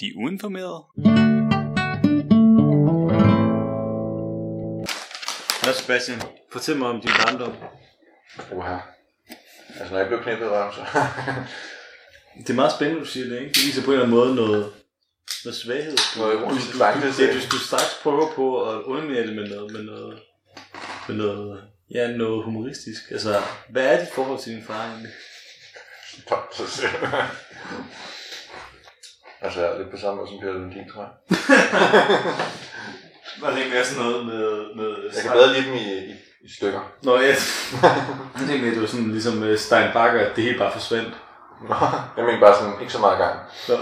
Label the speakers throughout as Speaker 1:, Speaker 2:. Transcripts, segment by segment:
Speaker 1: De uinformerede.
Speaker 2: Nå Sebastian, fortæl mig om din barndom.
Speaker 3: Uha. Altså, når jeg blev knippet, var jeg så...
Speaker 2: Det er meget spændende, du siger det, ikke? Det viser på en eller anden måde noget, noget svaghed.
Speaker 3: Noget ironisk langelse.
Speaker 2: Det er, hvis du straks prøver på at underminere det med noget, med noget, med noget, ja, noget humoristisk. Altså, hvad er dit forhold til din far egentlig?
Speaker 3: Fuck sig selv. altså, jeg er lidt på samme måde som Peter Lundin, tror jeg.
Speaker 2: Var det ikke mere sådan noget med... med
Speaker 3: Jeg kan bedre lide dem i, i, i stykker.
Speaker 2: Nå, ja. Jeg tænkte, mere, det var sådan ligesom øh, Stein Bakker, at det hele bare forsvandt.
Speaker 3: Nå, jeg mener bare sådan, ikke så meget gang.
Speaker 2: Så,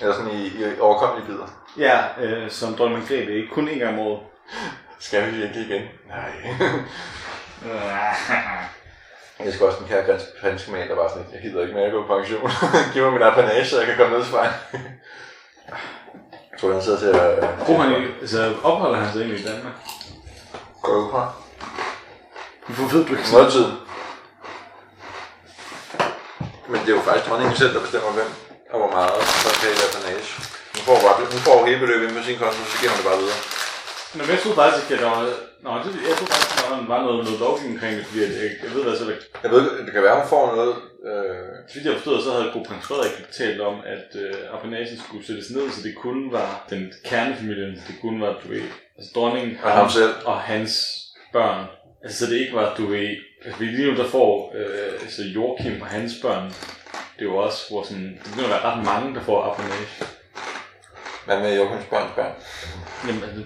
Speaker 3: Eller sådan i, i overkommelige bidder.
Speaker 2: ja, øh, som Dronning Margrethe, ikke kun en gang om året.
Speaker 3: Skal vi virkelig igen? Nej.
Speaker 2: Ah.
Speaker 3: Jeg skal også den kære græns- franske mand, der var sådan lidt, jeg gider ikke mere at gå på pension. Giv mig min apanage, så jeg kan komme ned fra. Jeg tror, han sidder til at...
Speaker 2: Bor han i, altså opholder han sig egentlig i Danmark?
Speaker 3: Gå ud fra.
Speaker 2: Hvorfor ved du ikke sådan?
Speaker 3: Måltid. Men det er jo faktisk dronningen selv, der bestemmer hvem og hvor meget, der skal have i apanage. Hun får, bare, hun får hele beløbet ind på sin konto, så giver hun det bare videre.
Speaker 2: Men jeg troede faktisk ikke, at der var... Nå, det, jeg troede faktisk, at der var noget, noget lovgivning omkring det, fordi jeg, jeg, jeg ved altså, hvad så ikke.
Speaker 3: Jeg ved ikke, det kan være, hun får noget... Øh,
Speaker 2: Så vidt jeg forstod, så havde kronprins Frederik talt om, at øh, apanagen skulle sættes ned, så det kun var den kernefamilien, det kun var, du ved, altså dronningen
Speaker 3: Og ham selv.
Speaker 2: og hans børn. Altså, så det ikke var, du ved, altså, fordi lige nu der får øh, altså Joachim og hans børn, det er jo også, hvor sådan, det begynder at være ret mange, der får apanage.
Speaker 3: hvad med Joachims børns børn?
Speaker 2: Jamen, altså...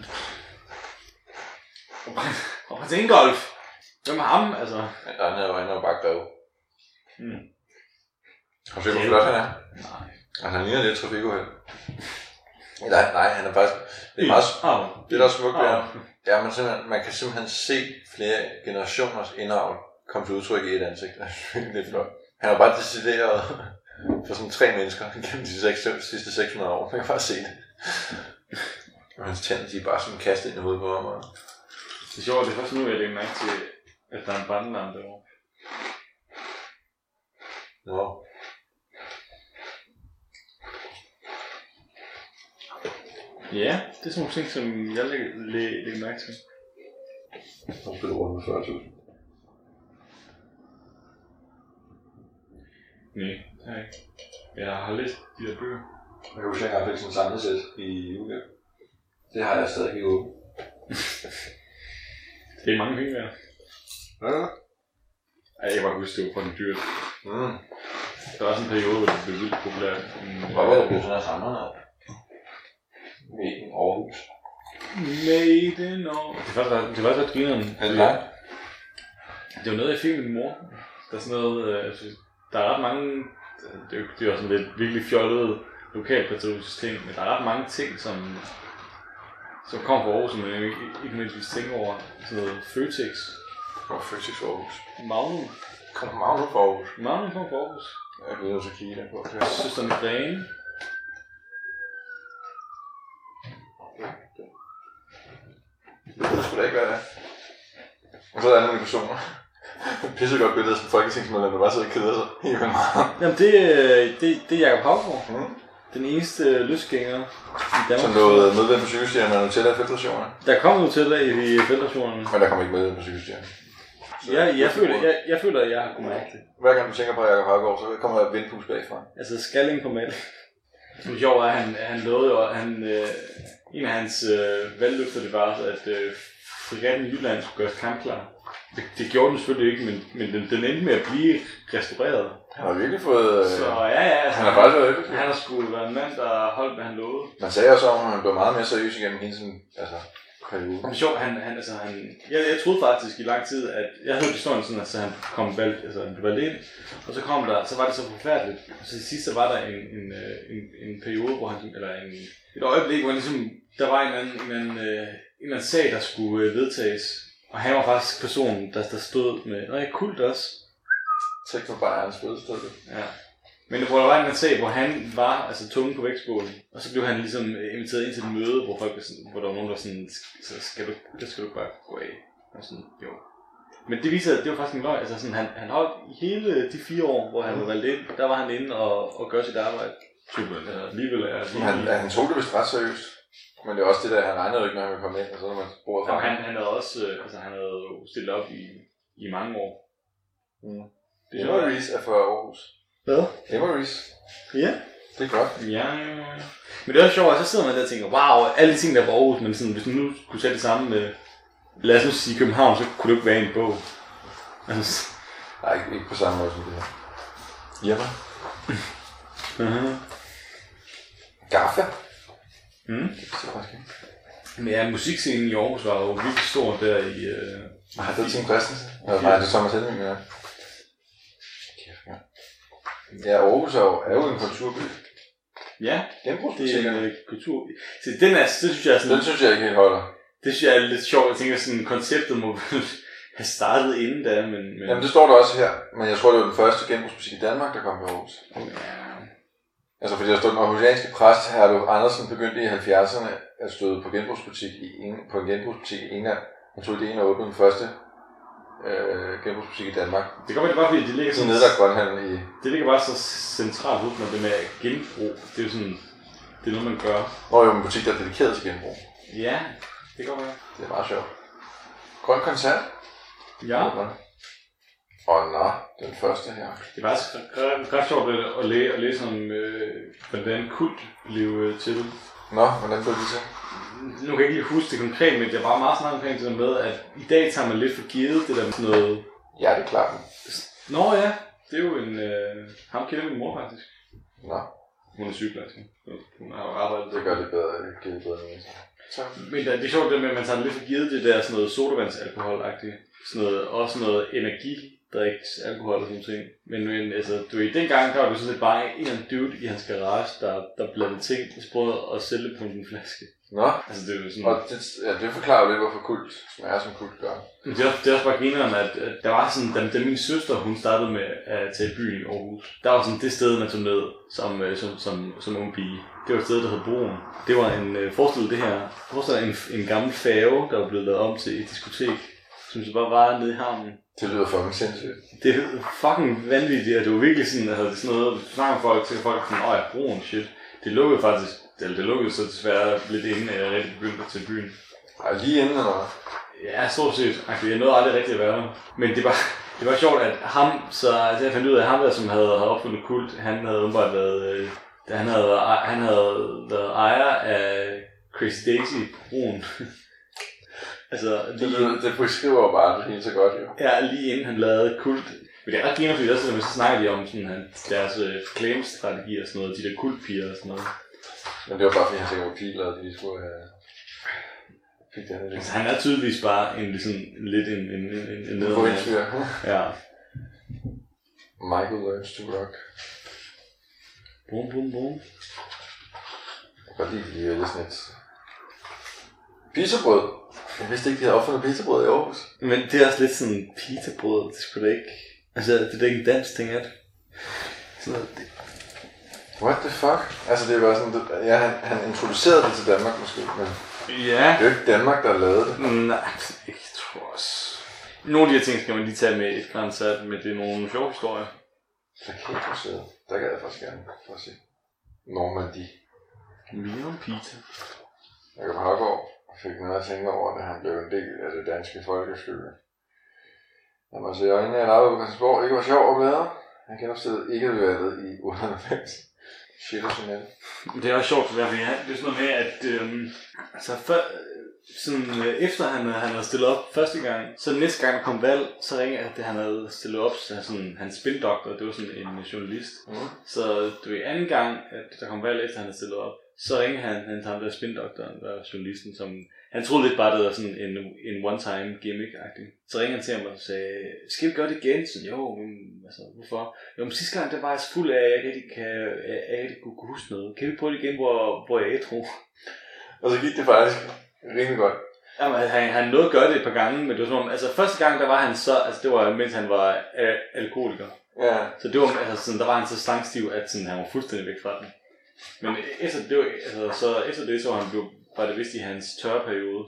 Speaker 2: Og prins Ingolf! Hvem er ham, altså?
Speaker 3: Ja, han er jo, han er jo bare greve.
Speaker 2: Mm.
Speaker 3: Har du set, hvor flot han er?
Speaker 2: Nej.
Speaker 3: Altså, han ligner lidt trafikuheld. Nej, nej, han er faktisk... Det er meget,
Speaker 2: Arv.
Speaker 3: det er da smukt, ja.
Speaker 2: Arv.
Speaker 3: Ja, man, simpelthen, man kan simpelthen se flere generationers indavl komme til udtryk i et ansigt. Det er virkelig lidt flot. Han har bare decideret for sådan tre mennesker gennem de seks, sidste 600 år. Man kan bare se det. Og hans tænder, de er bare sådan kastet ind i hovedet på ham. og-
Speaker 2: Det er sjovt, det er først nu, jeg lægger mærke til, at der er en brandalarm derovre.
Speaker 3: Nå.
Speaker 2: Ja, det er sådan nogle ting, som jeg lægger, læ- lægger mærke til.
Speaker 3: Nu skal du runde 40.000.
Speaker 2: Nej, det har jeg ikke. Jeg har læst de der bøger.
Speaker 3: Jeg kan huske, at jeg fik sådan en samlet sæt i julegave. Det har jeg stadig ikke åbent.
Speaker 2: Det er mange penge værd.
Speaker 3: Hvad er det?
Speaker 2: Ej, jeg kan bare huske, det var fucking dyrt.
Speaker 3: Mm.
Speaker 2: Der var også en periode, hvor det blev vildt populært. Mm,
Speaker 3: Hvor var det blevet sådan her samlet noget? I Aarhus.
Speaker 2: Made in all. Det var faktisk ret- det var faktisk ret grineren.
Speaker 3: Er det langt?
Speaker 2: Det var noget, jeg fik af min mor. Der er sådan noget, øh, altså, der er ret mange, det er jo det er jo sådan lidt virkelig fjollet lokalpatriotisk system, men der er ret mange ting, som, som kommer fra Aarhus, som man ikke, ikke mindst tænker over. Sådan noget Føtex,
Speaker 3: Hvor fysisk Aarhus.
Speaker 2: Magnum,
Speaker 3: Kom Magnus fra Aarhus.
Speaker 2: Magnum kommer fra Aarhus,
Speaker 3: Jeg bliver nødt til at kigge der på.
Speaker 2: Søsterne Grene,
Speaker 3: Det ved sgu da ikke, hvad det er. Og så er der nogle personer. Pissegodt billede som folketingsmedlem, der bare sidder og keder sig helt vildt meget.
Speaker 2: Jamen det, øh, det, det er Jacob Havgaard,
Speaker 3: Mm.
Speaker 2: den eneste øh, løsgænger i
Speaker 3: Som
Speaker 2: Danmark,
Speaker 3: noget medlem på cykelstjernen og Nutella i feltrationerne.
Speaker 2: der kom nu til dig i feltrationerne.
Speaker 3: Men der kommer ikke medlem på cykelstjernen. Så-
Speaker 2: Jeg, jeg, føler, jeg, jeg føler, at jeg har kunnet mærke det.
Speaker 3: Hver gang du tænker på Jacob Hargaard, så kommer der et vindpus bagfra.
Speaker 2: Altså skalling på mand. Det var sjovt, at han, han lovede jo, at han, øh, en af hans øh, valgløfter, det var, at øh, frigatten i Jylland skulle gøres kampklar. Det, det gjorde den selvfølgelig ikke, men, men den, den endte med at blive restaureret.
Speaker 3: Han har virkelig fået... Øh,
Speaker 2: Så ja, ja, altså,
Speaker 3: han har faktisk været effektiv.
Speaker 2: han har sgu været en mand, der holdt, hvad han lovede.
Speaker 3: Man sagde også, om, at han blev meget mere seriøs igennem hele sådan, altså, periode.
Speaker 2: Det er sjovt, han, han, altså, han, jeg, jeg troede faktisk i lang tid, at jeg hørte historien sådan, at så han kom valgt, altså han blev valgt ind, og så kom der, så var det så forfærdeligt. Og så til sidst, så var der en, en, øh, en, en periode, hvor han, eller en, et øjeblik, hvor han ligesom, der var en eller anden, en eller anden, øh, en eller anden sag, der skulle øh, vedtages, og han var faktisk personen, der, der stod med, nej, kult også.
Speaker 3: Tænk nu bare hans fødselsdag.
Speaker 2: Ja. Men hvor der var en anden sag, hvor han var altså tungen på vægtskålen, og så blev han ligesom øh, inviteret ind til et møde, hvor, folk var sådan, hvor der var nogen, der var sådan, så skal du, det skal du bare gå af. Og sådan, jo. Men det viser, at det var faktisk en løgn. Altså sådan, han, han holdt i hele de fire år, hvor han var valgt ind, der var han inde og, og gøre sit arbejde. Super. Alligevel er det
Speaker 3: Han, han tog det vist ret seriøst. Men det er også det der, han regnede jo ikke med, at han ville komme ind, og så når man bordet fra
Speaker 2: Jamen, han, han havde også øh, altså, han havde jo stillet op i, i mange år.
Speaker 3: Mm.
Speaker 2: Det er jo
Speaker 3: Emery's er fra Aarhus.
Speaker 1: Hvad?
Speaker 3: Emery's.
Speaker 1: Ja.
Speaker 3: Det er godt.
Speaker 2: Ja, ja, ja. Men det er også sjovt, at så sidder man der og tænker, wow, alle de ting, der var Aarhus, men sådan, hvis man nu kunne tage det samme med, lad os nu sige København, så kunne det jo ikke være i en bog. Altså,
Speaker 3: Nej, ikke, ikke på samme måde som det her. Hjemme.
Speaker 2: uh-huh.
Speaker 3: Gaffa.
Speaker 2: Mm.
Speaker 3: Det er faktisk ikke.
Speaker 2: Men ja, musikscenen i Aarhus var jo virkelig stor der i... Øh,
Speaker 3: Nej, det er Tim Christensen. Nå, Nej, det er Thomas Helming, ja. Kæft, mand. Ja, Aarhus er jo, er jo en kulturby.
Speaker 2: ja, det er en
Speaker 3: Genbrugsbutikkerne.
Speaker 2: øh, kultur... Så den er, det synes jeg er sådan,
Speaker 3: Den synes jeg ikke helt holder.
Speaker 2: det synes jeg er lidt sjovt. Jeg tænker sådan, konceptet må vel have startet inden da, men... men
Speaker 3: Jamen, det står der også her. Men jeg tror, det var den første genbrugsbutik i Danmark, der kom på Aarhus.
Speaker 2: ja.
Speaker 3: Altså, fordi der stod den aarhusianske præst, Herluf Andersen, begyndte i 70'erne at støde på genbrugsbutik i Eng- på en genbrugsbutik i England. Han tog det ene og åbnede den første øh, genbrugsbutik i Danmark.
Speaker 2: Det kan godt være, det er bare fordi det ligger
Speaker 3: Så
Speaker 2: sådan...
Speaker 3: nede der grønhandel i...
Speaker 2: Det ligger bare så centralt ud, når det med at genbrug, det er jo sådan, det er noget, man gør.
Speaker 3: Nå, jo, en butik, der er dedikeret til genbrug.
Speaker 2: Ja, det kan godt være.
Speaker 3: Det er meget sjovt. Grøn koncert.
Speaker 2: Ja.
Speaker 3: Og nå, den første her.
Speaker 2: Det var faktisk ret- ret sjovt at- at læse, at læse om, øh, hvordan kult blev øh, til.
Speaker 3: Nå, hvordan blev det til?
Speaker 2: Nu kan jeg ikke lige huske det konkret, men det var meget snart omkring det der med, at i dag tager man lidt for givet det der med sådan noget...
Speaker 3: Ja, det er klart.
Speaker 2: Nå ja, det er jo en... Øh, ham kender min mor faktisk.
Speaker 3: Nå,
Speaker 2: Hun er sygeplejerske. Hun har jo arbejdet
Speaker 3: det gør det bedre. Det giver det bedre mening. Så.
Speaker 2: Men det er- det er sjovt det med, at man tager lidt for givet det der sådan noget sodavandsalkoholagtigt. Sådan noget, også noget energidriks, alkohol og sådan ting. Men, men altså, du ved, dengang, der var det sådan set bare en eller anden dude i hans garage, der, der blandede ting i sprød og sælge det på en flaske.
Speaker 3: Nå,
Speaker 2: Altså, det er jo
Speaker 3: og
Speaker 2: sådan...
Speaker 3: det, ja, det forklarer jo lidt, hvorfor kult smager, som kult gør.
Speaker 2: Men det er, også- det er også bare grineren, at, at der var sådan, da, da min søster, hun startede med at tage i byen i Aarhus, der var sådan det sted, man tog ned som, øh, som, som, som ung pige. Det var et sted, der hed Broen. Det var en, øh, forestil det her, forestil dig en, en gammel fave, der var blevet lavet om til et diskotek, som så bare var nede i havnen.
Speaker 3: Det lyder fucking sindssygt.
Speaker 2: Det er fucking vanvittigt, og det var virkelig sådan, altså det er sådan noget, snakker folk til folk, sådan, åh ja, Broen, shit. Det lukkede faktisk, eller det lukkede så desværre lidt inden, at jeg rigtig begyndte at tage i byen.
Speaker 3: Og lige inden, eller hvad?
Speaker 2: Ja, stort set. Altså, jeg nåede aldrig rigtig at være der. Men det var, det var sjovt, at ham, så altså, jeg fandt ud af, at ham der, som havde, havde opfundet kult, han havde umiddelbart været, øh, han havde, været ej- han havde været ejer af Crazy Daisy broen. altså,
Speaker 3: Det,
Speaker 2: lige,
Speaker 3: lyder- det beskriver jo bare det hele så godt, jo.
Speaker 2: ja, lige inden han lavede kult. Men det er ret griner, fordi også, når man så snakker de om sådan, han, deres øh, claim-strategi og sådan noget, de der kultpiger og sådan noget.
Speaker 3: Men det var bare, fordi han tænkte på piler, og de skulle have... Fik det her lidt.
Speaker 2: Altså, han er tydeligvis bare en, sådan, lidt en, en, en, en, en
Speaker 3: Det var en
Speaker 2: nedermand.
Speaker 3: fyr.
Speaker 2: Ja.
Speaker 3: Michael learns to rock.
Speaker 2: Bum, bum, bum.
Speaker 3: Jeg kan godt lide, at de vælger sådan et... Pizzabrød. Jeg vidste ikke, de havde opfundet pizzabrød i Aarhus.
Speaker 2: Men det er også lidt sådan pitabrød, det skulle da ikke... Altså, det er da ikke en dansk ting, er det? Sådan noget, det.
Speaker 3: What the fuck? Altså, det var sådan... Det, ja, han, han introducerede det til Danmark måske, men
Speaker 2: Ja.
Speaker 3: det er jo ikke Danmark, der lavede det.
Speaker 2: Nej, jeg tror også... Nogle af de her ting skal man lige tage med et græns af, men det er nogle sjove historier.
Speaker 3: Plakatmuseet. Der gad jeg faktisk gerne for at se. Normandie.
Speaker 2: Mere om pizza.
Speaker 3: Jacob Hørgaard fik noget at tænke over, da han blev en del af det danske folkeskylde. Når man ser øjnene af arbejde på Christiansborg, ikke var sjov og bedre. Han genopstillede ikke valget i 98. Shit og sådan noget.
Speaker 2: Men Det er også sjovt, for derfor, ja. Det er sådan noget med, at... Øhm, altså, før, øh, sådan, øh, efter han, han havde stillet op første gang, så næste gang der kom valg, så ringede jeg, at han havde stillet op, så sådan, hans spindoktor, det var sådan en journalist,
Speaker 3: Mm.
Speaker 2: Så du ved, anden gang, at der kom valg efter, han havde stillet op, så ringede han, han til ham der spindoktoren, der var journalisten, som... Han troede lidt bare, det var sådan en, en one-time gimmick-agtig. Så ringede han til ham og sagde, skal vi gøre det igen? Så jo, men altså, hvorfor? Jo, men sidste gang, der var jeg så fuld af, at jeg ikke rigtig kan, at jeg ikke kunne kunne huske noget. Kan vi prøve det igen, hvor, hvor jeg er ædru?
Speaker 3: Og så gik det faktisk rimelig godt.
Speaker 2: Jamen, altså, han, han nåede at gøre det et par gange, men det var som om, altså første gang, der var han så, altså det var, mens han var øh, alkoholiker.
Speaker 3: Ja.
Speaker 2: Så det var, altså, sådan, der var han så stangstiv, at sådan, han var fuldstændig væk fra den. Men efter det, var, altså, så, efter det så var han blev, var det vist i hans tørre periode.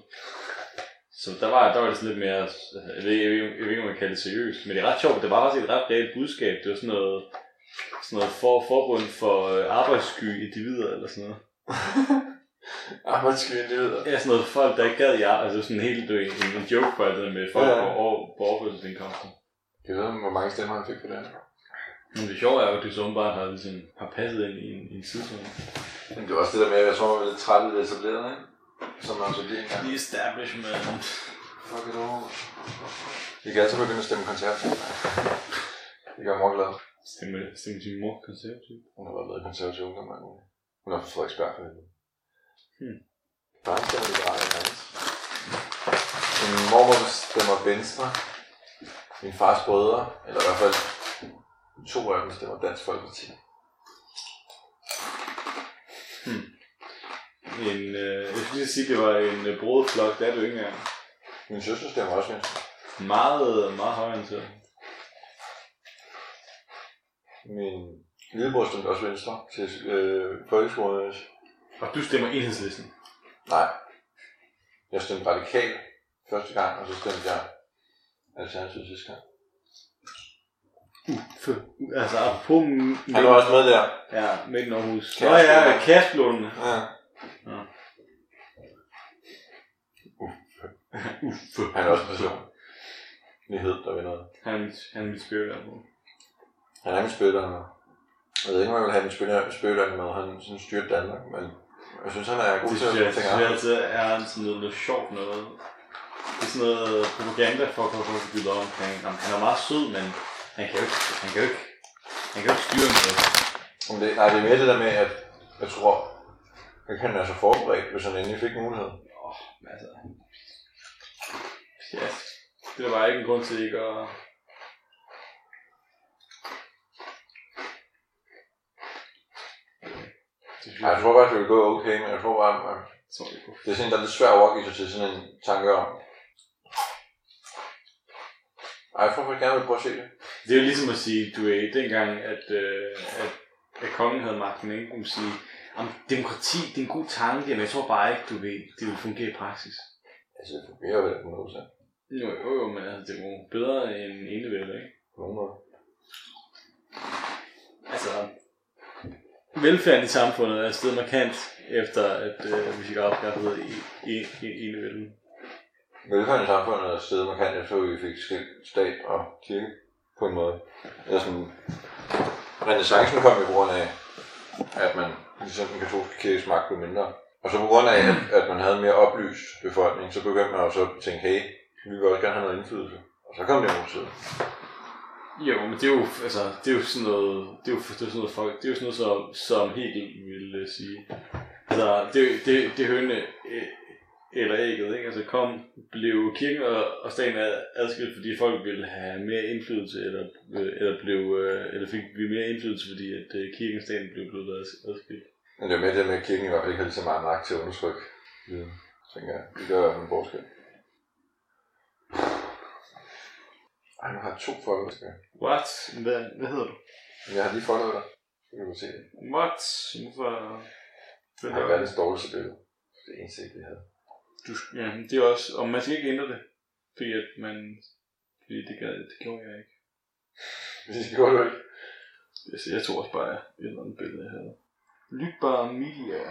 Speaker 2: Så der var, der var det sådan lidt mere, altså, jeg ved, jeg, ved, jeg ved ikke, om man kan kalde det seriøst, men det er ret sjovt, det var faktisk et ret reelt budskab. Det var sådan noget, sådan noget for, forbund for øh, arbejdssky individer eller sådan noget.
Speaker 3: Arbejdsgivende individer.
Speaker 2: Ja, sådan noget folk, der ikke gad i arbejde. Altså sådan helt øh, en, en joke på alt det der med folk
Speaker 3: Ja,
Speaker 2: ja,
Speaker 3: ja.
Speaker 2: ja. på, over, på overførselsindkomster.
Speaker 3: Jeg ved, hvor mange stemmer han fik på det.
Speaker 2: Men det sjove er jo, at det så åbenbart har, ligesom, har passet ind i en, i en tidszone.
Speaker 3: Men det var også det der med, at jeg tror, man var lidt træt af det etablerede, ikke? Som man så lige engang.
Speaker 2: The establishment.
Speaker 3: Fuck it all. Vi kan altid begynde at stemme konservativt. Det gør mor glad.
Speaker 2: Stemmer, stemmer din mor konservativ?
Speaker 3: Hun har bare været konservativ ungdom mange år. Hun er fra Frederiksberg for helvede.
Speaker 2: Hmm.
Speaker 3: Bare stemmer liberale hans. Min mormor stemmer venstre. Min fars brødre, eller i hvert fald to af dem stemmer Dansk Folkeparti.
Speaker 2: En, øh, jeg skulle lige sige, det var en øh, broderflok, det er det jo ikke engang.
Speaker 3: Min søster stemmer også venstre.
Speaker 2: Meget, meget højere end så.
Speaker 3: Min lillebror stemte også venstre til øh, folkeskolen.
Speaker 2: Og du stemmer enhedslisten.
Speaker 3: Nej. Jeg stemte radikal første gang, og så stemte jeg alternativet sidste gang.
Speaker 2: For, altså, apropos... m-
Speaker 3: Han var også med der.
Speaker 2: Ja, midten Aarhus. Nå
Speaker 3: Kæreste.
Speaker 2: ja, Kærsblåen.
Speaker 3: Ja.
Speaker 2: Uffe.
Speaker 3: Han er også en person. Nyhed, der ved noget.
Speaker 2: Han er mit, han er mit spirit animal.
Speaker 3: Han er min spytter med. Jeg ved ikke, om jeg vil have min spytter, spytter med. Han sådan styrer Danmark, men jeg synes, han er
Speaker 2: Det
Speaker 3: god til
Speaker 2: synes jeg,
Speaker 3: at
Speaker 2: det
Speaker 3: tænke
Speaker 2: synes jeg
Speaker 3: af.
Speaker 2: altid er sådan noget, noget sjovt noget. Det er sådan noget propaganda for at få bygget op omkring. Jamen, han er meget sød, men han kan jo ikke, han kan jo ikke, han kan jo ikke styre noget.
Speaker 3: Men "Ah, det, nej, det er mere det der med, at jeg tror, at han er så forberedt, hvis han endelig fik mulighed.
Speaker 2: Åh, men altså. Ja, det er der bare ikke en grund til ikke at... Det synes
Speaker 3: Ej, jeg tror bare, det vil gå okay, men jeg tror bare, at
Speaker 2: tror jeg ikke.
Speaker 3: det er sådan en, der er lidt svært at overgive sig til sådan en tanke om. Ej, jeg tror faktisk gerne, vil prøve at se det.
Speaker 2: Det er jo ligesom at sige, du er dengang, at, øh, at, at kongen havde magten, ikke? Kunne man sige, om demokrati, det er en god tanke, men jeg tror bare ikke, du ved, det vil fungere i praksis.
Speaker 3: Altså, det fungerer vel på noget, så.
Speaker 2: Jo, jo, jo, men altså, det er jo bedre end enevælde, ikke?
Speaker 3: På nogen måde.
Speaker 2: Altså, velfærden i samfundet er steget markant, efter at øh, vi fik afskaffet i, i, i, enevælden.
Speaker 3: Velfærden i samfundet er stedet markant efter, at vi fik skilt stat og kirke på en måde. Eller sådan, renaissancen kom jo på grund af, at man, ligesom den katolske kirkes magt blev mindre. Og så på grund af, at, at man havde en mere oplyst befolkning, så begyndte man jo så at tænke, hey, vi vil også gerne have noget indflydelse. Og så kom det mod
Speaker 2: Jo, men det er jo, altså, det er jo sådan noget, det er jo, det er jo sådan noget, folk, det er jo sådan noget som, som Hegel ville øh, sige. Altså, det, er jo- det, det er hønne øh, eller ægget, ikke? Altså, kom, blev kirken og, og staten ad- adskilt, fordi folk ville have mere indflydelse, eller, øh, eller, blev, øh, eller fik vi mere indflydelse, fordi at øh, kirken og staten blev blevet ad- adskilt.
Speaker 3: Men det er jo med det med, at kirken i hvert fald ikke har lige så meget magt til at undertrykke. Ja. Tænker jeg, det gør i hvert fald en forskel. Ej, nu har jeg to folkeskab.
Speaker 2: What? Hvad, hvad hedder du?
Speaker 3: Men jeg har lige followet dig. Så kan du se det.
Speaker 2: What? Hvorfor?
Speaker 3: Det har verdens dårligste billede. Det er eneste, vi havde.
Speaker 2: Du, ja, det er også, og man skal ikke ændre det, fordi at man, fordi det, gad, det gjorde jeg ikke.
Speaker 3: Hvis I gjorde det ikke.
Speaker 2: Altså, jeg tog også bare et eller andet billede, jeg havde. Lytbar Mia.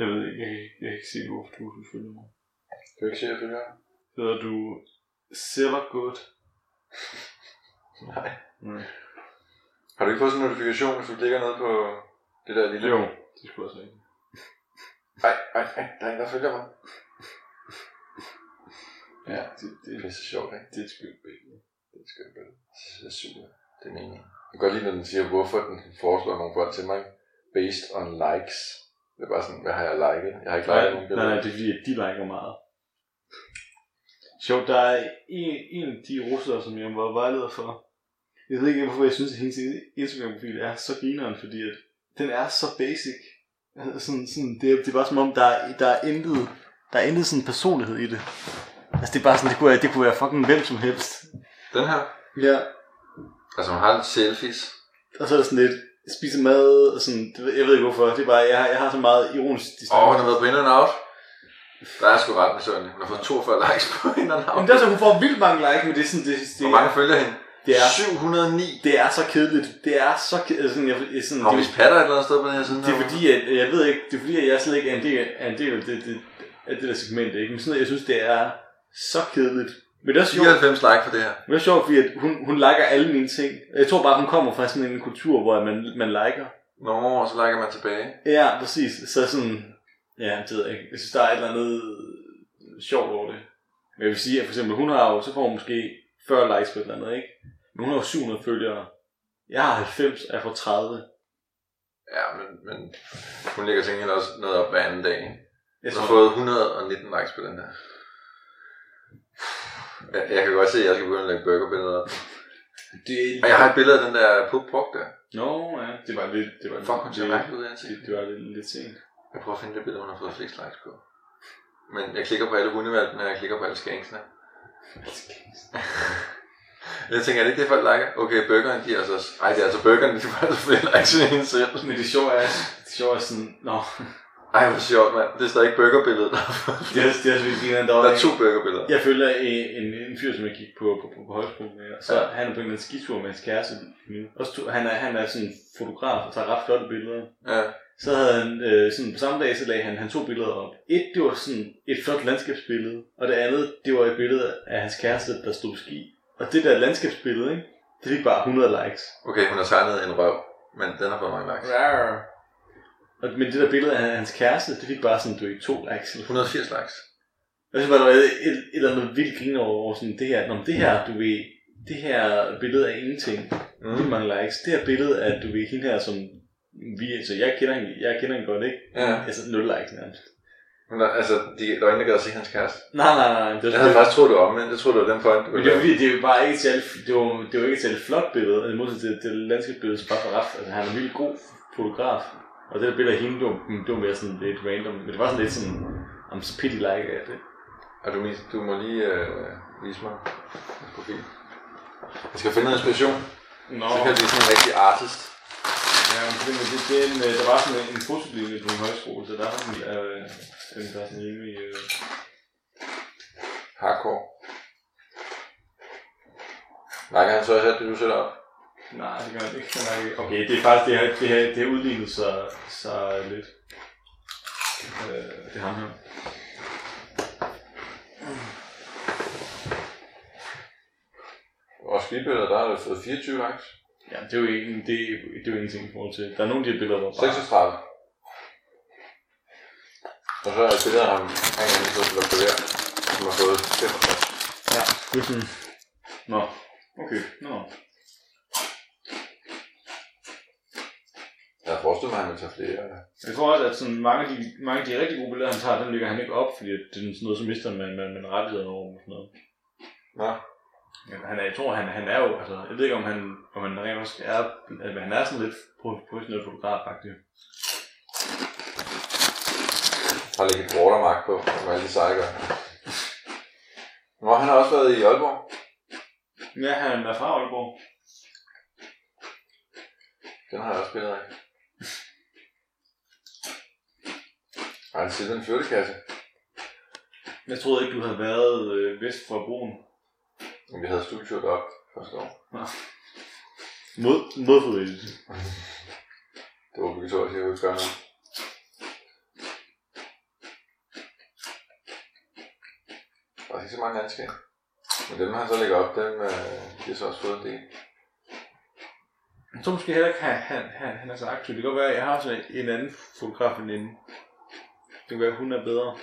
Speaker 2: Jeg ved ikke, jeg, kan ikke- jeg kan ikke se, hvorfor du vil følge mig.
Speaker 3: Kan du ikke se, at jeg følger?
Speaker 2: Hedder du Silver Good?
Speaker 3: Nej.
Speaker 2: Nej.
Speaker 3: Har du ikke fået sådan en notifikation, hvis du klikker ned på det der lille...
Speaker 2: Jo, det skulle jeg så ikke.
Speaker 3: Ej, ej, ej, der er en, der følger mig.
Speaker 2: Ja, det, det,
Speaker 3: Det er så sjovt, ikke?
Speaker 2: det er et skønt billede.
Speaker 3: Det skal jeg bare. Det er super. Det er meningen. Jeg kan godt lide, når den siger, hvorfor den foreslår nogle folk til mig. Based on likes. Det er bare sådan, hvad har jeg liket? Jeg har ikke liket nogen
Speaker 2: nej,
Speaker 3: billeder.
Speaker 2: nej, det er fordi, at de liker meget. Sjovt, der er en, en af de russere, som jeg var vejleder for. Jeg ved ikke, hvorfor jeg synes, at hendes Instagram-profil er så grineren, fordi at den er så basic. Altså, Sådan, sådan, det, er, det er bare som om, der er, der er intet, der er intet sådan personlighed i det. Altså det er bare sådan, det kunne være, det kunne være fucking hvem som helst.
Speaker 3: Den her.
Speaker 2: Ja.
Speaker 3: Altså, man har lidt selfies.
Speaker 2: Og så er der sådan lidt, spise mad, og sådan, det ved- jeg ved ikke hvorfor, det er bare, jeg har, jeg har så meget ironisk
Speaker 3: Åh,
Speaker 2: distance.
Speaker 3: hun har været på in and out. Der er sgu ret med Hun har fået 42 likes på in and
Speaker 2: altså,
Speaker 3: out.
Speaker 2: Jamen det er så, hun får vildt mange like, men det er sådan, det, det
Speaker 3: Hvor mange følger hende?
Speaker 2: Det er,
Speaker 3: 709.
Speaker 2: det er så kedeligt. Det er så kedeligt. Sådan, jeg, jeg- sådan,
Speaker 3: Har vi
Speaker 2: det,
Speaker 3: spatter et eller andet sted på den her side?
Speaker 2: det, er fordi, at, jeg ved ikke, det er fordi, at jeg slet ikke er en del, er en del af, det, det, af det der segment. Ikke? Men sådan, jeg synes, det er så kedeligt. Men det er også sjovt,
Speaker 3: 94 like for det her.
Speaker 2: men det er sjovt fordi at hun, hun liker alle mine ting. Jeg tror bare, hun kommer fra sådan en kultur, hvor man, man liker.
Speaker 3: Nå, og så liker man tilbage.
Speaker 2: Ja, præcis. Så sådan, ja, det ved jeg ikke. Jeg synes, der er et eller andet sjovt over det. Men jeg vil sige, at for eksempel, hun har jo, så får hun måske 40 likes på et eller andet, ikke? Men hun har jo 700 følgere. Jeg har 90, og jeg får 30.
Speaker 3: Ja, men, men hun lægger til gengæld også noget op hver anden dag.
Speaker 2: Jeg
Speaker 3: Jeg har
Speaker 2: tror,
Speaker 3: fået 119 likes på den her. Jeg, jeg kan godt se, at jeg skal begynde at lægge burgerbilleder op.
Speaker 2: det...
Speaker 3: Og jeg har et billede af den der pup pork der.
Speaker 2: Nå, ja. Det var lidt... Det var
Speaker 3: Fuck, hun ser
Speaker 2: det,
Speaker 3: mærkelig ud i
Speaker 2: det,
Speaker 3: ansigtet.
Speaker 2: det var lidt, lidt sent.
Speaker 3: Jeg prøver at finde det billede, hun har fået flest likes på. Men jeg klikker på alle hundevalgene, og jeg klikker på alle skænksene. Jeg tænker, er det ikke det, folk liker? Okay, burgeren, de er altså også... Ej, det er altså burgeren, de får altså flere likes end hende selv.
Speaker 2: Men det sjove er, det sjove er sådan... Nå,
Speaker 3: Ej, hvor sjovt, mand. Det er stadig ikke burgerbilledet.
Speaker 2: det er, det er selvfølgelig en eller anden, der
Speaker 3: Der
Speaker 2: var
Speaker 3: er to burgerbilleder.
Speaker 2: Jeg følger en, en, en fyr, som jeg gik på, på, på, på højskole med, og så
Speaker 3: Ja.
Speaker 2: ja. han er på en eller anden skitur med hans kæreste nu. Også to, han, er, han er sådan en fotograf og tager ret flotte billeder.
Speaker 3: Ja.
Speaker 2: Så havde han, øh, sådan på samme dag, så lagde han, han to billeder op. Et, det var sådan et flot landskabsbillede, og det andet, det var et billede af hans kæreste, der stod på ski. Og det der landskabsbillede, ikke? det fik bare 100 likes.
Speaker 3: Okay, hun har tegnet en røv, men den har fået mange likes.
Speaker 2: Og, men det der billede af hans kæreste, det fik bare sådan, du ved, to likes. Eller
Speaker 3: 180 likes.
Speaker 2: Og så var der et, et eller andet vildt grin over, over sådan det her, Nå, men det her, du ved, det her billede af ingenting, mm.
Speaker 3: Mm.
Speaker 2: mange likes, det her billede af, du ved, hende her, som vi, altså jeg kender hende, jeg kender hende godt, ikke?
Speaker 3: Ja.
Speaker 2: Altså, nul likes nærmest.
Speaker 3: Men der, altså, de, der var ingen, der gad at se hans kæreste.
Speaker 2: Nej, nej, nej, det var,
Speaker 3: Jeg havde faktisk troet, det var omvendt. Jeg troede, det var den point. du
Speaker 2: men
Speaker 3: ville
Speaker 2: det var
Speaker 3: lave.
Speaker 2: fordi, det var bare ikke særlig, det var, det var ikke et særlig flot billede, altså modsat til det landskabsbillede, som bare var ret, altså han er en vildt god fotograf, og det der billede af hende, det var, det var mere sådan lidt random, men det var sådan lidt sådan, om så pity like af det.
Speaker 3: Og du, mis- du må lige øh, vise mig hans profil. Jeg skal finde noget inspiration.
Speaker 2: Nå,
Speaker 3: Så kan jeg blive sådan en rigtig artist.
Speaker 2: Ja, men det, det, det, er en, øh, der var sådan en, en fotolinje på en højskole, så der var den, øh, den der sådan rimelig... Øh,
Speaker 3: Hardcore. Liker han så også alt det, du sætter op?
Speaker 2: nej, det kan jeg det kan jeg ikke. Okay, det er faktisk, det her, det her, det her udlignet så, så lidt. Øh, det er ham her.
Speaker 3: Og skibøller, der har du fået 24 likes.
Speaker 2: Ja, det er jo ikke, det, er- det er jo ingenting i forhold til. Der er nogle af de her billeder, der bare...
Speaker 3: 36. Og så er der et billede af ham, han er en, der spiller klaver, som har fået 65.
Speaker 2: Ja, det er sådan... Nå, okay, nå.
Speaker 3: Jeg har forestillet mig, at han vil tage flere.
Speaker 2: Jeg tror også, at sådan mange, af de, mange af de rigtig gode billeder, han tager, den lægger han ikke op, fordi det er sådan noget, som mister man, man, man rettighederne over og sådan noget.
Speaker 3: Nå,
Speaker 2: Men han er, jeg tror, han, han er jo, altså, jeg ved ikke, om han, om han rent faktisk er, at han er sådan lidt pro- professionel fotograf, faktisk.
Speaker 3: har lægget et watermark på, som alle de seje gør. Nå, han har også været i Aalborg.
Speaker 2: Ja, han er fra Aalborg.
Speaker 3: Den har jeg også billeder af. Ej, han sidder i en flyttekasse.
Speaker 2: Jeg troede ikke, du havde været øh, vest for broen.
Speaker 3: Men vi havde studiet op første år.
Speaker 2: Mod, modforvægelse.
Speaker 3: Det var obligatorisk, jeg kunne ikke gøre noget. Der er ikke så mange landskaber. Men dem, han så lægger op, dem, øh, de har så også fået en del.
Speaker 2: Jeg tror måske heller ikke, han, han, han, han er så aktiv. Det kan godt være, at jeg har sådan en, en anden fotograf end hende. Det kan være, at hun er bedre.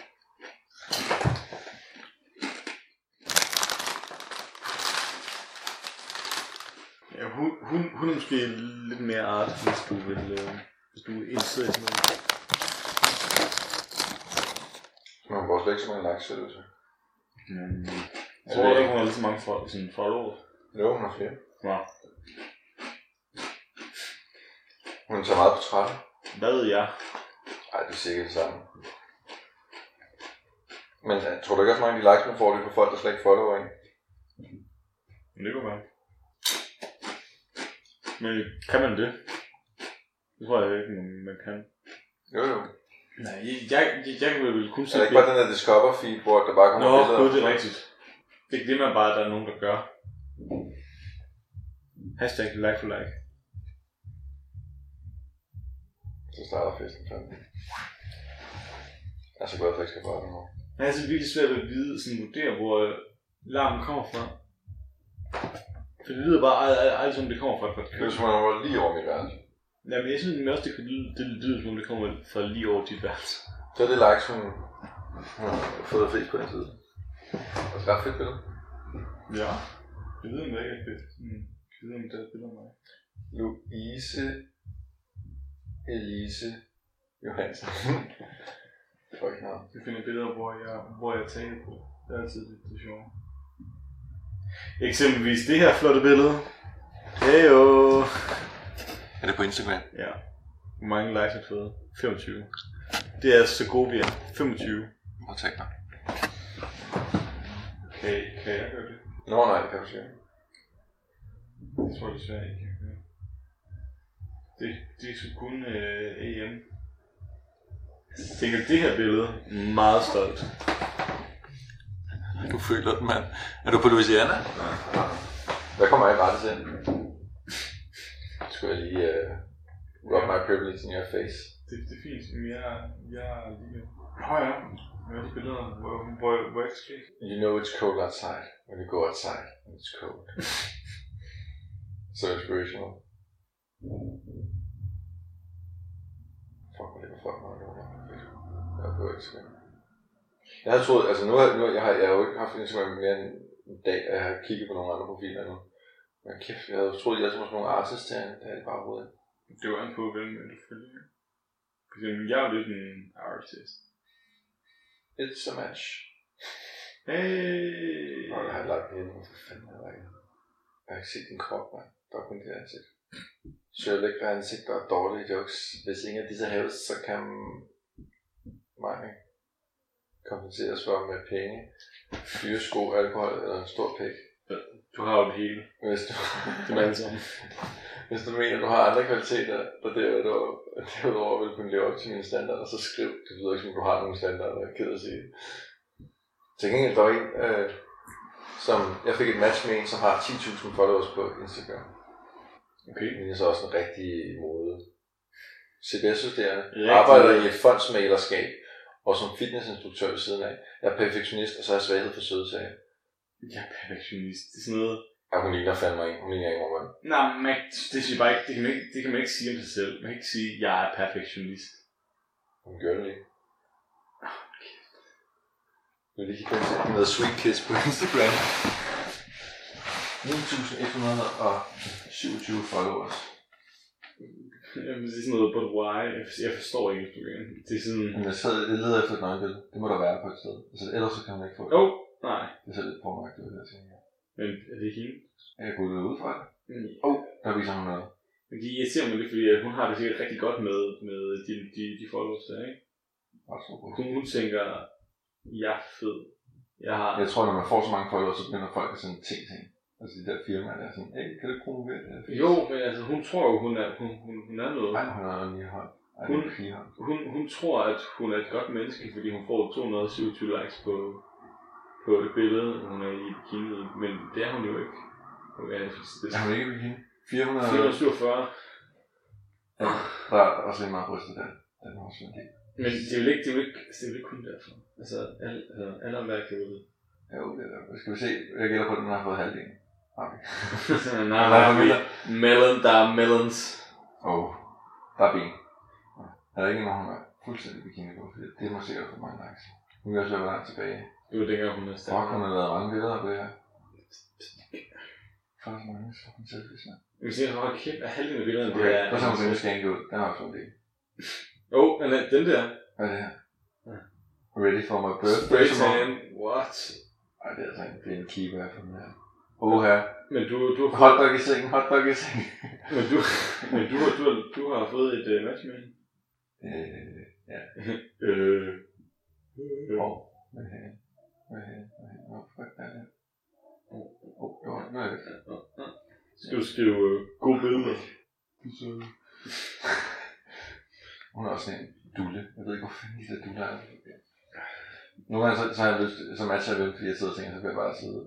Speaker 2: Ja, hun, hun, hun er måske lidt mere art, hvis du vil, øh, hvis du er interesseret i sådan noget.
Speaker 3: Men hun får slet ikke så mange likes, ser det ud til.
Speaker 2: Mm. Jeg
Speaker 3: Jeg
Speaker 2: tror
Speaker 3: ved
Speaker 2: ikke, hun har lige så mange fol- sådan followers.
Speaker 3: Jo, hun har flere.
Speaker 2: Nå.
Speaker 3: Hun tager meget på trætte.
Speaker 2: Hvad ved jeg?
Speaker 3: Ej, det er sikkert det samme. Men øh, tror du ikke også mange af de likes, man får, det er på folk, der slet ikke follower en?
Speaker 2: Men det kunne være. Men kan man det? Det tror jeg ikke, man man kan.
Speaker 3: Jo, jo.
Speaker 2: Nej, jeg, jeg, jeg, jeg kan vel kun
Speaker 3: Er
Speaker 2: se
Speaker 3: det ikke bare den der Discover feed, hvor der bare kommer
Speaker 2: Nå,
Speaker 3: billeder?
Speaker 2: gud, det er rigtigt. Det glemmer man bare, at der er nogen, der gør. Hashtag like for like.
Speaker 3: Så starter festen sådan. Jeg er så glad for, at jeg skal bare nu.
Speaker 2: Men jeg er altså virkelig svært ved at vide, sådan vurdere, hvor øh, larmen kommer fra. For det lyder bare ald- ald- aldrig, som det kommer fra et
Speaker 3: Det er
Speaker 2: podcast.
Speaker 3: som om, jeg var lige over mit værelse.
Speaker 2: Ja, men jeg synes nemlig også, det kan lyde, det lyder, som om det kommer fra lige over dit værelse.
Speaker 3: Så er det likes, hun hun har fået flest på den side. Og så ret fedt billede.
Speaker 2: Ja. Jeg ved, om det ikke er fedt. Mm. Jeg ved, om det er fedt mig.
Speaker 3: Louise Elise Johansen. Fuck navn.
Speaker 2: Jeg finder billeder, hvor jeg, hvor jeg taler på. Det er altid lidt det sjove. Eksempelvis det her flotte billede. Heyo!
Speaker 3: Er det på Instagram?
Speaker 2: Ja. Hvor mange likes har det fået? 25. Det er så gode vi er. 25.
Speaker 3: Prøv at tag mig.
Speaker 2: Kan, kan jeg gøre det?
Speaker 3: Nå nej, det kan du sige.
Speaker 2: Jeg tror desværre ikke, jeg kan gøre det. Det, det er sgu kun øh, AM. Jeg tænker, det her billede meget stolt.
Speaker 3: Du føler den, mand. Er du på Louisiana? Hvad kommer jeg i rette til? Skulle jeg lige uh, rub my privilege in your face?
Speaker 2: Det, det er fint, men jeg, jeg er lige... Nå ja, hvad er de billeder, hvor, hvor, hvor jeg skal
Speaker 3: You know it's cold outside when you go outside and it's cold. so inspirational. Fuck, hvor ligger folk meget over Jeg er på Instagram. Jeg havde troet, altså nu har, nu, jeg, har, jeg har jo ikke haft Instagram mere end en dag, og jeg har kigget på nogle andre profiler nu. Men kæft, jeg havde jo troet, jeg havde sådan nogle artists derinde, der er det bare hovedet.
Speaker 2: Det var an på, hvem du følger. For eksempel, jeg er lidt en artist.
Speaker 3: It's a match.
Speaker 2: Hey!
Speaker 3: Og jeg har lagt den hjemme, for fanden har jeg lagt den? Jeg har ikke set din krop, mand. Der er kun dit ansigt. Søger lækre ansigter og dårlige jokes. Hvis ingen af disse hæves, så kan mig kompenseres for med penge, dyre sko, alkohol eller en stor pik.
Speaker 2: Du har jo det hele.
Speaker 3: Hvis du,
Speaker 2: Det var alle sammen.
Speaker 3: hvis du mener, du har andre kvaliteter, der derudover, derudover vil kunne leve op til mine standarder, så skriv. Det lyder ikke, som du har nogle standarder, jeg er ked af at sige. det. Til gengæld, der var en, øh, som jeg fik et match med en, som har 10.000 followers på Instagram.
Speaker 2: Okay.
Speaker 3: Men er så også en rigtig mode. CBS-studerende,
Speaker 2: Rigtig.
Speaker 3: arbejder i et fondsmalerskab, og som fitnessinstruktør ved siden af. Jeg er perfektionist, og så har jeg svaghed for søde sager.
Speaker 2: Jeg er perfektionist. Det er sådan noget...
Speaker 3: Ja, hun ligner fandme ikke. Hun ligner ikke mig.
Speaker 2: Nej, men man, det, synes jeg bare ikke, det, kan man ikke, det kan man ikke sige om sig selv. Man kan ikke sige, at jeg er perfektionist.
Speaker 3: Hun gør det ikke. Du vil lige kigge på Instagram. Hun hedder Sweet Kiss på Instagram. 9.127 followers.
Speaker 2: Jamen, det er sådan noget, but why? Jeg, for- jeg forstår ikke Instagram. Det er sådan...
Speaker 3: Men jeg sad, jeg leder efter et nøgenbillede. Det må der være på et sted. Altså, ellers så kan man ikke få det.
Speaker 2: Jo, oh, nej.
Speaker 3: Det ser lidt pornoagtigt ud, jeg tænker.
Speaker 2: Men er det ikke hende?
Speaker 3: Jeg kan gå ud fra det.
Speaker 2: Mm.
Speaker 3: Der viser hun noget.
Speaker 2: Men de irriterer mig lidt, fordi at hun har det sikkert rigtig godt med, med de, de, de followers der, ikke?
Speaker 3: Ret stor brug.
Speaker 2: Hun, hun tænker, jeg er fed. Jeg har...
Speaker 3: Jeg tror, når man får så mange followers, så begynder folk at sende ting til en. Altså de der firmaer, der er sådan, hey, kan du ikke promovere det? her?"
Speaker 2: Jo, men altså, hun tror jo, hun er, hun, hun, hun er noget.
Speaker 3: Ej, hun har en ny hånd. Ej, det er en pigehånd.
Speaker 2: Hun, hun tror, at hun er et godt menneske, fordi hun får 227 likes på, på et billede, hun er i bikini, men det er hun jo ikke. Hun er, det
Speaker 3: Er
Speaker 2: er
Speaker 3: hun ikke ved hende? 400...
Speaker 2: 447.
Speaker 3: Ja, der er også lidt meget brystet der. Den er også en del.
Speaker 2: Men det er jo ikke, det er jo ikke, det er jo ikke kun derfor. Altså, alle, altså, alle om hver kan jo det.
Speaker 3: Jo, det er der. Skal vi se? Jeg gælder på, at den har fået halvdelen. Okay.
Speaker 2: Altså, nej,
Speaker 3: Der er
Speaker 2: nej,
Speaker 3: mindre.
Speaker 2: nej. Melon, der er melons.
Speaker 3: Åh, oh, der er ben. Ja. Er der ikke nogen, hun er fuldstændig bikini på? Fordi Det må sikkert for mange likes. Nu kan jeg også være langt tilbage.
Speaker 2: Det var dengang, hun er stærk.
Speaker 3: Fuck, hun har lavet mange billeder på det her. Fuck, hvor mange fucking selfies, mand.
Speaker 2: Vi ser, hvor kæft er halvdelen af billederne,
Speaker 3: Okay,
Speaker 2: det er...
Speaker 3: og så må vi skal ikke ud. Den har også en del.
Speaker 2: Åh, oh, men den der.
Speaker 3: Hvad er det her?
Speaker 2: Ja.
Speaker 3: Ready for my birthday
Speaker 2: Spray
Speaker 3: tomorrow?
Speaker 2: tan. What?
Speaker 3: Ej, det er altså en, det er en keeper for den her. Åh her.
Speaker 2: Men du, du,
Speaker 3: Hotdog i sengen, hotdog i sengen.
Speaker 2: men du, men du, har- du, har, du har fået et uh, match med hende.
Speaker 3: Øh,
Speaker 2: Øh. øh.
Speaker 3: Åh, hvad er det? Hvad er det? Hvad er det? Åh, fuck, hvad er det? Åh, åh, det var- nu er det.
Speaker 2: Skal du skrive øh, gode billeder?
Speaker 3: Hun er også sådan en dulle. Jeg ved ikke, hvor fanden de der duller er. Nogle gange så, så har jeg lyst, så matcher jeg dem, fordi jeg sidder og tænker, så kan jeg bare sidde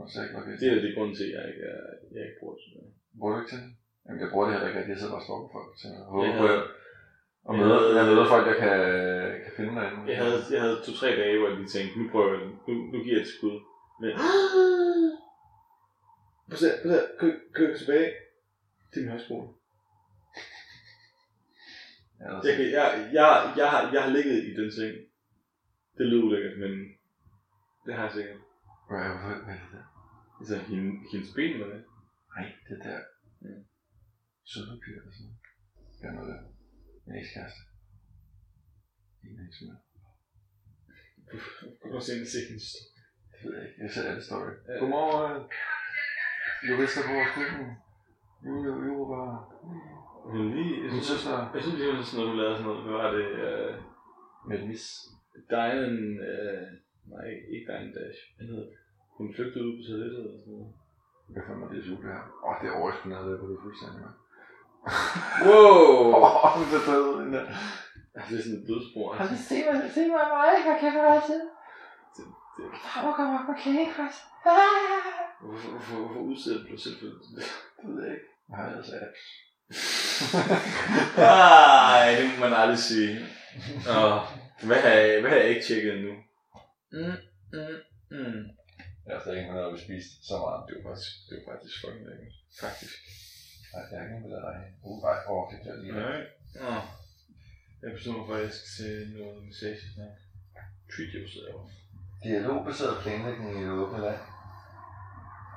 Speaker 3: og så er jeg ikke nok
Speaker 2: Det er det grund til, at jeg ikke, er, jeg ikke bruger det.
Speaker 3: Bruger du ikke til det? Jamen, jeg bruger det heller ikke, at jeg sidder bare og stalker folk. Så jeg håber
Speaker 2: Jeg
Speaker 3: på,
Speaker 2: havde-
Speaker 3: at- og møder,
Speaker 2: Jeg havde-
Speaker 3: jeg møder folk, jeg kan, kan finde derinde.
Speaker 2: Jeg havde, jeg havde to-tre dage, hvor jeg lige tænkte, nu prøver jeg den. Nu, nu giver jeg et skud. Men... Prøv at se, prøv at se, kør, kør tilbage til min højskole.
Speaker 3: Jeg havde
Speaker 2: Jeg, kan- jeg, jeg, jeg, har, jeg har ligget i den seng. Det lyder ulækkert, men det har jeg sikkert.
Speaker 3: Hvad er hvad er det der?
Speaker 2: Altså, hende, hendes ben med det.
Speaker 3: Nej, det der. Søde papir eller sådan noget. Det er noget der. Min ekskæreste. Min ekskæreste.
Speaker 2: Prøv at se hende se hendes
Speaker 3: Det ved jeg ikke. Jeg ser alle story.
Speaker 2: Ja.
Speaker 3: Godmorgen. Jurister på vores køkken. Jule, Europa.
Speaker 2: Hun er lige, jeg
Speaker 3: Min
Speaker 2: synes, jeg,
Speaker 3: søster.
Speaker 2: jeg synes, det var sådan noget, hun lavede sådan noget. Hvad var det? Øh,
Speaker 3: Med et mis.
Speaker 2: Dian, øh, nej, ikke Dian Dash. Hvad hedder det? Hun flygtede ud på toilettet og sådan noget.
Speaker 3: Hvad fanden var det jule her? Åh, det er overraskundet, jeg kunne fuldstændig med.
Speaker 2: Wow!
Speaker 3: Åh, oh, det er bedre end der.
Speaker 2: Altså, Det er sådan et dødsbror.
Speaker 4: Og så se mig, se mig mig, hvor kan jeg bare sidde?
Speaker 2: Det, det,
Speaker 4: Hvor kommer jeg på kagekræs? Ah!
Speaker 2: hvorfor, hvorfor, hvorfor udsætter du dig selv for det?
Speaker 3: Det ved jeg ikke. Hvad har jeg ellers af apps?
Speaker 2: Nej, det må man aldrig sige. Og hvad har jeg, hvad har jeg ikke tjekket endnu? Mm, mm, mm.
Speaker 3: Jeg har stadig ikke noget, at vi spiste så meget. Det var faktisk, det var faktisk fucking lækkert.
Speaker 2: Faktisk.
Speaker 3: Nej, jeg har ikke noget, der er Uh, nej, åh, det der lige.
Speaker 2: Nej. Nå. Jeg bestemmer mig for, at jeg skal til noget massage snart. Treat yourself.
Speaker 3: Dialogbaseret planlægning i det åbne land.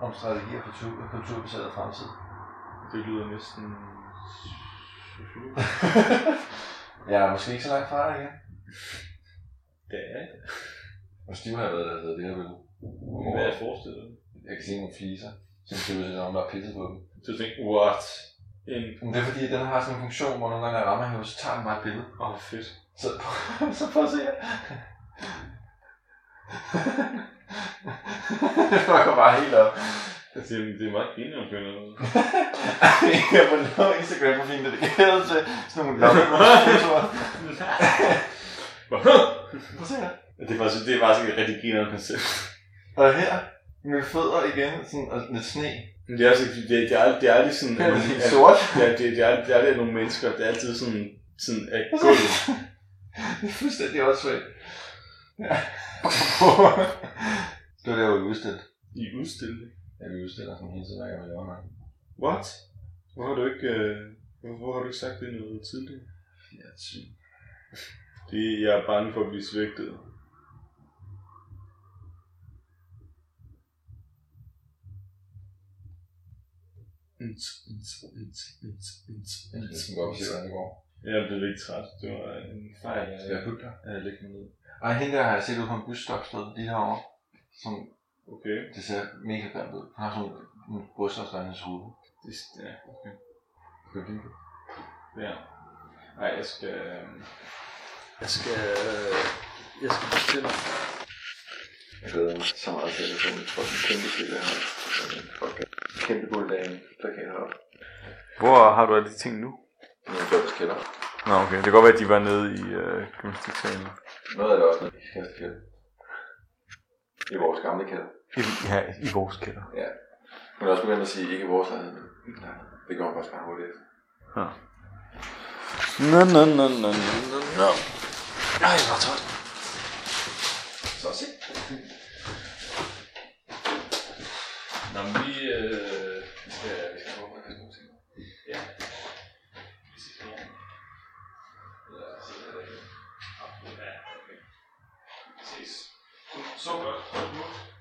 Speaker 3: Om strategier for tur- kulturbaseret fremtid.
Speaker 2: Det lyder næsten...
Speaker 3: Jeg er måske ikke så langt fra dig igen.
Speaker 2: Det er det.
Speaker 3: Hvor stiv har jeg været, der hedder det her billede.
Speaker 2: Hvad jeg forestiller mig.
Speaker 3: Jeg kan se nogle fliser, som ser ud til, at nogen, der har pisset på dem.
Speaker 2: Så jeg tænkte, what? En...
Speaker 3: Men det er fordi, at den har sådan en funktion, hvor nogle gange jeg rammer hende, så tager den bare et billede.
Speaker 2: Åh, oh, fedt.
Speaker 3: Så, så prøv at se her. det fucker bare helt op.
Speaker 2: Altså, Det, er- det er meget pinligt, at finde noget.
Speaker 3: jeg har fundet Instagram-profilen dedikeret til sådan nogle lommemålsfotoer. Prøv at se her.
Speaker 2: det er faktisk, det er faktisk et rigtig grinerende koncept.
Speaker 3: Og her, med fødder igen, sådan, og lidt sne.
Speaker 2: Men det er også, det, det, er, aldrig- det er aldrig sådan...
Speaker 3: Her er Mm. det
Speaker 2: at-
Speaker 3: helt sort.
Speaker 2: Ja, det, det, er, det er aldrig nogle mennesker, det er altid sådan, sådan at gå.
Speaker 3: Det er fuldstændig åndssvagt. Ja. det var der, hvor vi udstillede.
Speaker 2: I udstilling.
Speaker 3: Ja, vi udstiller sådan hele tiden, hver gang vi laver noget.
Speaker 2: What? Hvor har du ikke, øh, hvor, hvor har du ikke sagt det noget tidligere?
Speaker 3: Ja, sygt.
Speaker 2: Det er, jeg er bange for at blive svigtet. Ins, ins, ins, ins, ins,
Speaker 3: Jeg
Speaker 2: ins.
Speaker 3: skal gå op og se, hvordan det går.
Speaker 2: Jeg blev lidt træt. Det var en fejl.
Speaker 3: Skal jeg putte dig?
Speaker 2: Jeg lægger mig ned.
Speaker 3: Ej, hende der har jeg set ud på en busstopsted lige herovre. Som,
Speaker 2: Okay.
Speaker 3: det ser mega grimt ud. Hun har sådan en brystopsted i hendes hoved.
Speaker 2: Det, ja, okay.
Speaker 3: Kan du lide det?
Speaker 2: Ja. Nej, jeg skal... øh, Jeg skal... øh, Jeg skal bestille.
Speaker 5: Jeg glæder mig så meget til, at jeg får min fucking kæmpe klip af her. Fucking kæmpe god dag, der kan jeg have.
Speaker 2: Hvor har du alle de ting nu?
Speaker 5: Nogle jobbes kælder.
Speaker 2: Nå, okay. Det kan godt være, at de var nede i øh, gymnastiksalen.
Speaker 5: Noget af det også, når vi skal have kælder. I vores gamle kælder.
Speaker 2: I, ja, i vores kælder.
Speaker 5: Hun er også begyndt at sige, ikke i vores lejlighed, men min lejlighed. Det går hun faktisk meget hurtigt efter.
Speaker 2: Nå, nå, nå, nå, nå, nå, nå.
Speaker 5: Ej, hvor tørt. Så se.
Speaker 2: Nå, men vi... Øh,
Speaker 5: Vi skal, vi skal prøve at gøre nogle ting.
Speaker 2: ja.
Speaker 5: Eller se, hvad der
Speaker 2: øh,
Speaker 5: er.
Speaker 2: ah, Ses. Så godt.